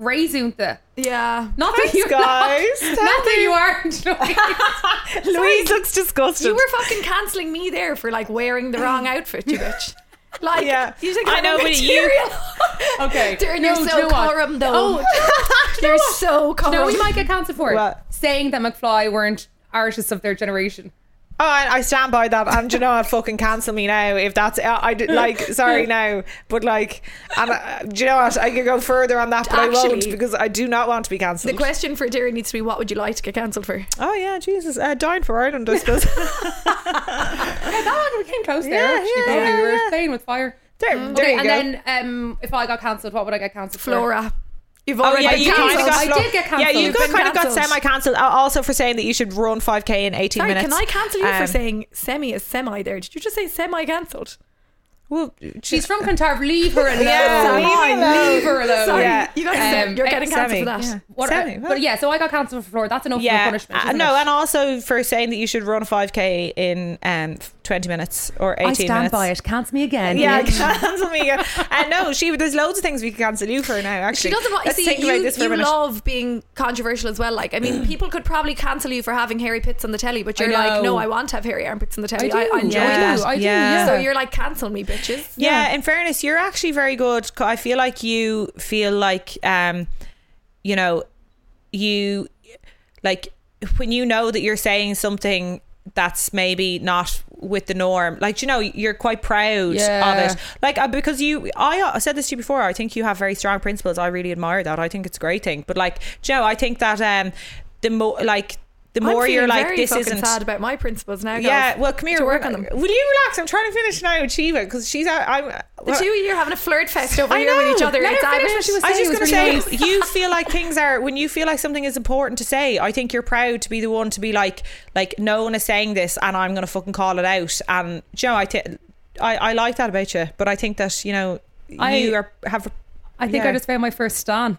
C: raisunta.
D: Yeah.
C: Not
A: Thanks,
C: that you [laughs]
A: guys.
C: Not, not that you aren't. [laughs]
A: [laughs]
C: Louise.
A: Louise looks disgusted.
D: You were fucking cancelling me there for like wearing the wrong outfit, you bitch. Like,
A: [laughs] Yeah.
D: you think
A: I
D: I'm
A: know,
D: a
A: but you- [laughs]
D: material. [laughs]
C: Okay.
D: Darren,
C: No,
D: you're
C: do you
D: so
C: know what?
D: corum though.
C: Oh,
D: [laughs] you're so corum.
C: no, we might get cancelled for it.
A: What?
C: Saying that McFly weren't artists of their generation.
A: Oh, I, I stand by that. And do you know, what? fucking cancel me now if that's. I, I did- like. Sorry now, but like, and uh, do you know what? I could go further on that, but I won't
D: Actually-
A: because I do not want to be
D: the
A: cancelled.
D: question for Darren needs to be what would you like to get cancelled for?
A: oh yeah, Jesus, uh, dying for Ireland,
D: [laughs]
A: I suppose.
D: Mm.
C: Yeah, that one we came close
A: Yeah,
C: there. Actually,
A: yeah,
C: probably we were
A: yeah, yeah.
C: playing with fire.
A: there, there you
C: and
A: go.
C: then um, if I got cancelled, what would I get cancelled for?
D: Flora. You've
A: Oh
D: already
A: yeah,
D: been
A: you kind of
D: cancelled.
A: got.
C: I
A: flo-
C: did get
A: Yeah, you
C: cancelled.
A: got,
D: Been
A: kind of got
D: cancelled.
A: semi-cancelled. Uh, Also for saying that you should run 5k in 18
D: Sorry,
A: minutes.
D: can I cancel you
A: Um,
D: for saying semi is semi there? Did you just say semi cancelled?
A: Well,
C: She's from Cantarv. Leave
A: [laughs]
C: her alone.
A: Yeah,
C: leave,
A: leave her alone.
C: her alone.
D: Sorry,
A: Oh, Yeah. eh,
D: you guys said
C: Um,
D: you're getting
C: ex-
D: cancelled for
A: semi,
D: that.
A: yeah.
C: What,
A: Sammy, what?
C: but yeah, so I got cancelled for Flora. That's enough
A: yeah,
C: for punishment.
A: uh,
C: isn't
A: no,
C: it?
A: and also for saying that you should run 5k in um 20 minutes or 18
C: I stand
A: minutes.
C: by it. Cancel me again.
A: Yeah, cancel me again.
D: [laughs]
A: [laughs] And no, she. There's loads of things we could cancel you for now.
D: She
A: Actually,
D: doesn't want.
A: Let's
D: see,
A: think
D: you,
A: about this for a
D: you
A: minute.
D: love being controversial as well. Like, I mean, people could probably cancel you for having hairy pits on the telly, but
C: I
D: you're like,
C: know.
D: no, I want to have hairy armpits on the
C: I
D: telly.
C: do.
D: I, I enjoy
A: Yeah.
D: that.
C: I do. I do.
A: Yeah.
C: Yeah.
D: So you're like, cancel me, bitches.
A: yeah. in fairness, you're actually very good. 'Cause I feel like you feel like, um, you know, you like when you know that you're saying something that's maybe not with the norm. Like you know, you're quite proud
C: Yeah.
A: of it. Like uh, because you, I, uh, said this to you before. I think you have very strong principles. I really admire that. I think it's a great thing. But like Joe, I think that um, the more like the
D: I'm
A: more you're
D: feeling
A: like,
D: very
A: this
D: fucking
A: isn't.
D: sad about my principles now.
A: Yeah,
D: guys.
A: well, come
D: Need
A: here.
D: to work
A: we're
D: on
A: not-
D: them.
A: Will you relax? I'm trying to finish now, Achieva, because she's out. I'm.
D: The two of you are having a flirt fest over
A: I
D: here with each
A: know.
D: other.
A: Let
D: it's
C: her finish
D: Irish.
C: what she was
A: I was
C: saying
A: just going
C: was
A: to say,
C: really
A: you feel like things are when you feel like something is important to say. I think you're proud to be the one to be like, like no one is saying this, and I'm going to fucking call it out. And Joe, you know, I, thi- I, I like that about you, but I think that you know
C: I-
A: you are have.
C: I think
A: Yeah.
C: I just found my first stan.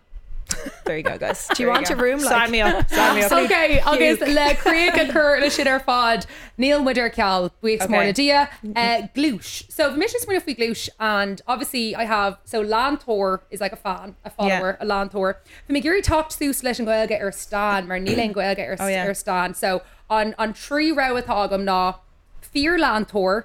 A: There you go, [laughs] guys.
D: Do you want a room?
A: Sign
D: Like,
A: me up.
C: [laughs]
A: Sign me up.
C: Okay, agus le críic chur le sin ar fád Neil Wider ceall buíoch mór na dia uh, glúis. So bh mission smúna faoi glúis and obviously I have so Lantor is like a fan, a follower, yeah. a Lantor. Bhí mé gurí tocht sús leis an ghilge ar stan mar níl an ghilge ar, oh,
A: yeah.
C: yeah. ar stan. So an an trí roithá agam ná fear Lantor,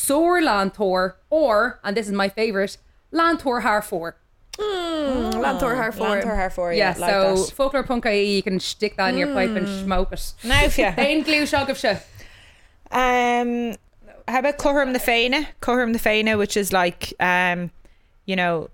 C: sore Lantor or and this is my favorite Lantor Harfor.
D: Lantor her for.
A: Lantor her for you.
C: Yeah,
A: like
C: so
A: that. Mm.
C: folklore.ie E, you can stick that in your pipe and smoke it.
A: Now,
C: [laughs]
A: yeah.
C: Ein glue shock of shit.
A: Um, how about Coram the Faina? Coram the Faina, which is like, um, you know,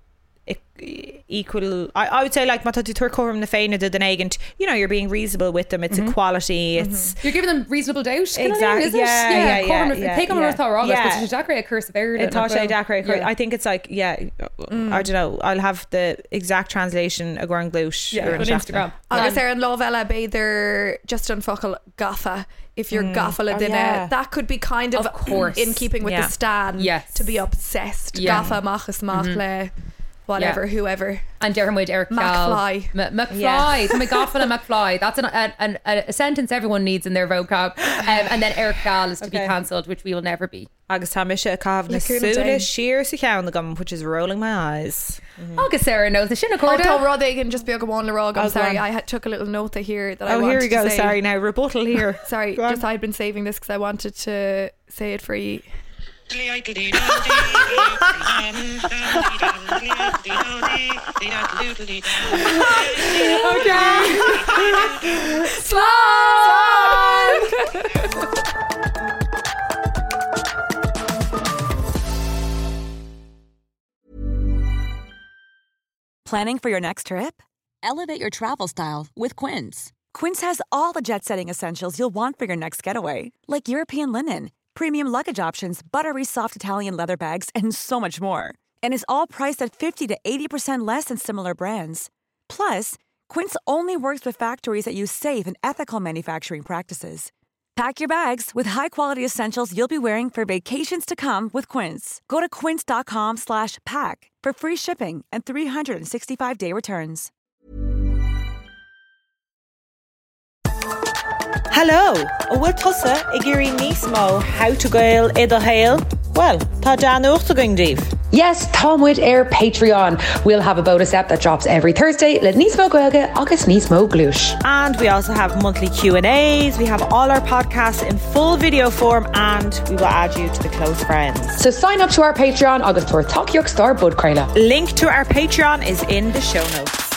A: e- equal. I, I would say like Matatutur Coram the Faina did an agent. You know, you're being reasonable with them. It's
D: Mm-hmm.
A: equality. It's
C: You're giving them reasonable doubt. kind of thing,
A: Exact-
C: isn't it?
A: yeah, yeah,
C: call them
A: yeah,
C: if-
A: yeah,
C: Take them
A: yeah.
C: on Earth or August,
A: Yeah.
C: yeah. which is Jacare a curse of Erdogan.
A: it taught Dakar. I think it's like yeah.
D: Mm.
A: I don't know. I'll have the exact translation. A ground glute.
C: yeah,
A: or
C: on
A: an shafna.
C: Instagram.
D: Agus
C: Um,
D: ar an láhheile beidir just an focail gafa if you're mm. gafa
A: Oh,
D: duine
A: yeah.
D: yeah. that could be kind of,
C: Of course.
D: in keeping with
A: Yeah.
D: the stan
C: Yes.
D: to be obsessed
C: Yeah.
D: yeah. gafa machas mach mm-hmm. le whatever yeah. whoever
C: and Darren Wade, Eric
D: McFly.
C: Cal. M- McFly. Oh
A: Yeah. [laughs]
C: Yeah. McGoffin and McFly. That's an, an, an, a sentence everyone needs in their vocab. Um, and then Eric Cal is to okay.
A: Okay.
C: be cancelled, which we will never be.
A: Agus tá mis a cáh na
D: Lacuna Dane.
A: súla siir sa cean na gum, which is rolling my eyes.
C: Mm. August Sarah knows the
D: Although
C: Shinacorda.
D: Rod Egan just be a go on the rog
A: Oh,
D: I'm
A: go
D: sorry
A: on.
D: I had took a little note here that I
A: Oh,
D: wanted
A: here we go.
D: to say.
A: Sorry, now rebuttal here.
D: [laughs] sorry
A: Go on.
D: just I'd been saving this because I wanted to say it for [laughs] you
E: Planning for your next trip? Elevate your travel style with Quince. Quince has all the jet setting essentials you'll want for your next getaway, like European linen, premium luggage options, buttery soft Italian leather bags, and so much more. And is all priced at 50 to 80% less than similar brands. Plus, Quince only works with factories that use safe and ethical manufacturing practices. Pack your bags with high-quality essentials you'll be wearing for vacations to come with Quince. Go to quince.com slash pack for free shipping and 365-day returns.
A: Hello, a bhfuil tusa i ggurí níos mó how to gail iad a hail? Well, tá Dan uachta going díobh.
B: Yes, Tomwood Air Patreon. We'll have a bonus app that drops every Thursday. Let Nismo Goelga, August Nismo Glush.
A: And we also have monthly Q&As. We have all our podcasts in full video form and we will add you to the close friends.
B: So sign up to our Patreon, August for Talk York Star Bud Crayla.
A: Link to our Patreon is in the show notes.